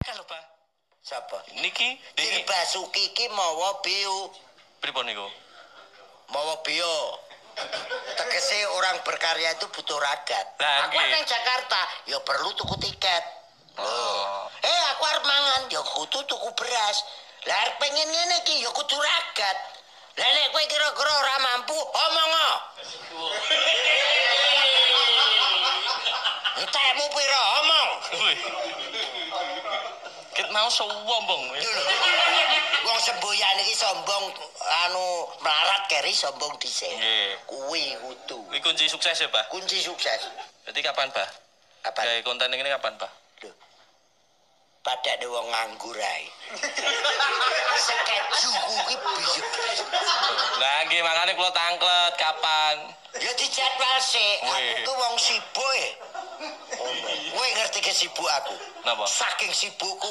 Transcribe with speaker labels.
Speaker 1: Halo, Pak.
Speaker 2: Sapa?
Speaker 1: Niki
Speaker 2: Dir
Speaker 1: Dengi
Speaker 2: Basuki ki mawa biu,
Speaker 1: pripun niku?
Speaker 2: mawa bio. Tegese orang berkarya itu butuh ragat.
Speaker 1: Lah,
Speaker 2: aku
Speaker 1: nggih.
Speaker 2: nang Jakarta, ya perlu tuku tiket.
Speaker 1: Oh.
Speaker 2: Eh, aku arep mangan, ya kudu tuku beras. Lah arep pengen ngene iki ya kudu ragat. Lah nek kowe kira-kira ora mampu, omong o. Entekmu pira omong?
Speaker 1: Wih. Ket mau sombong.
Speaker 2: Yo lho. Wong semboyan iki sombong anu melarat keri sombong dhisik.
Speaker 1: Nggih.
Speaker 2: Kuwi kudu.
Speaker 1: Ini kunci sukses ya, Pak.
Speaker 2: Kunci sukses.
Speaker 1: Berarti kapan, Pak?
Speaker 2: Apa?
Speaker 1: Gawe konten ini kapan, Pak?
Speaker 2: Lho. Padha de wong nganggur ae. Sekeju kuwi piye?
Speaker 1: Lah nggih makane kula tangklet kapan.
Speaker 2: Ya dijadwal sik. Aku
Speaker 1: Weh.
Speaker 2: ku wong sibuk. e. Kowe ngerti ke sibuk aku?
Speaker 1: Napa?
Speaker 2: Saking sibukku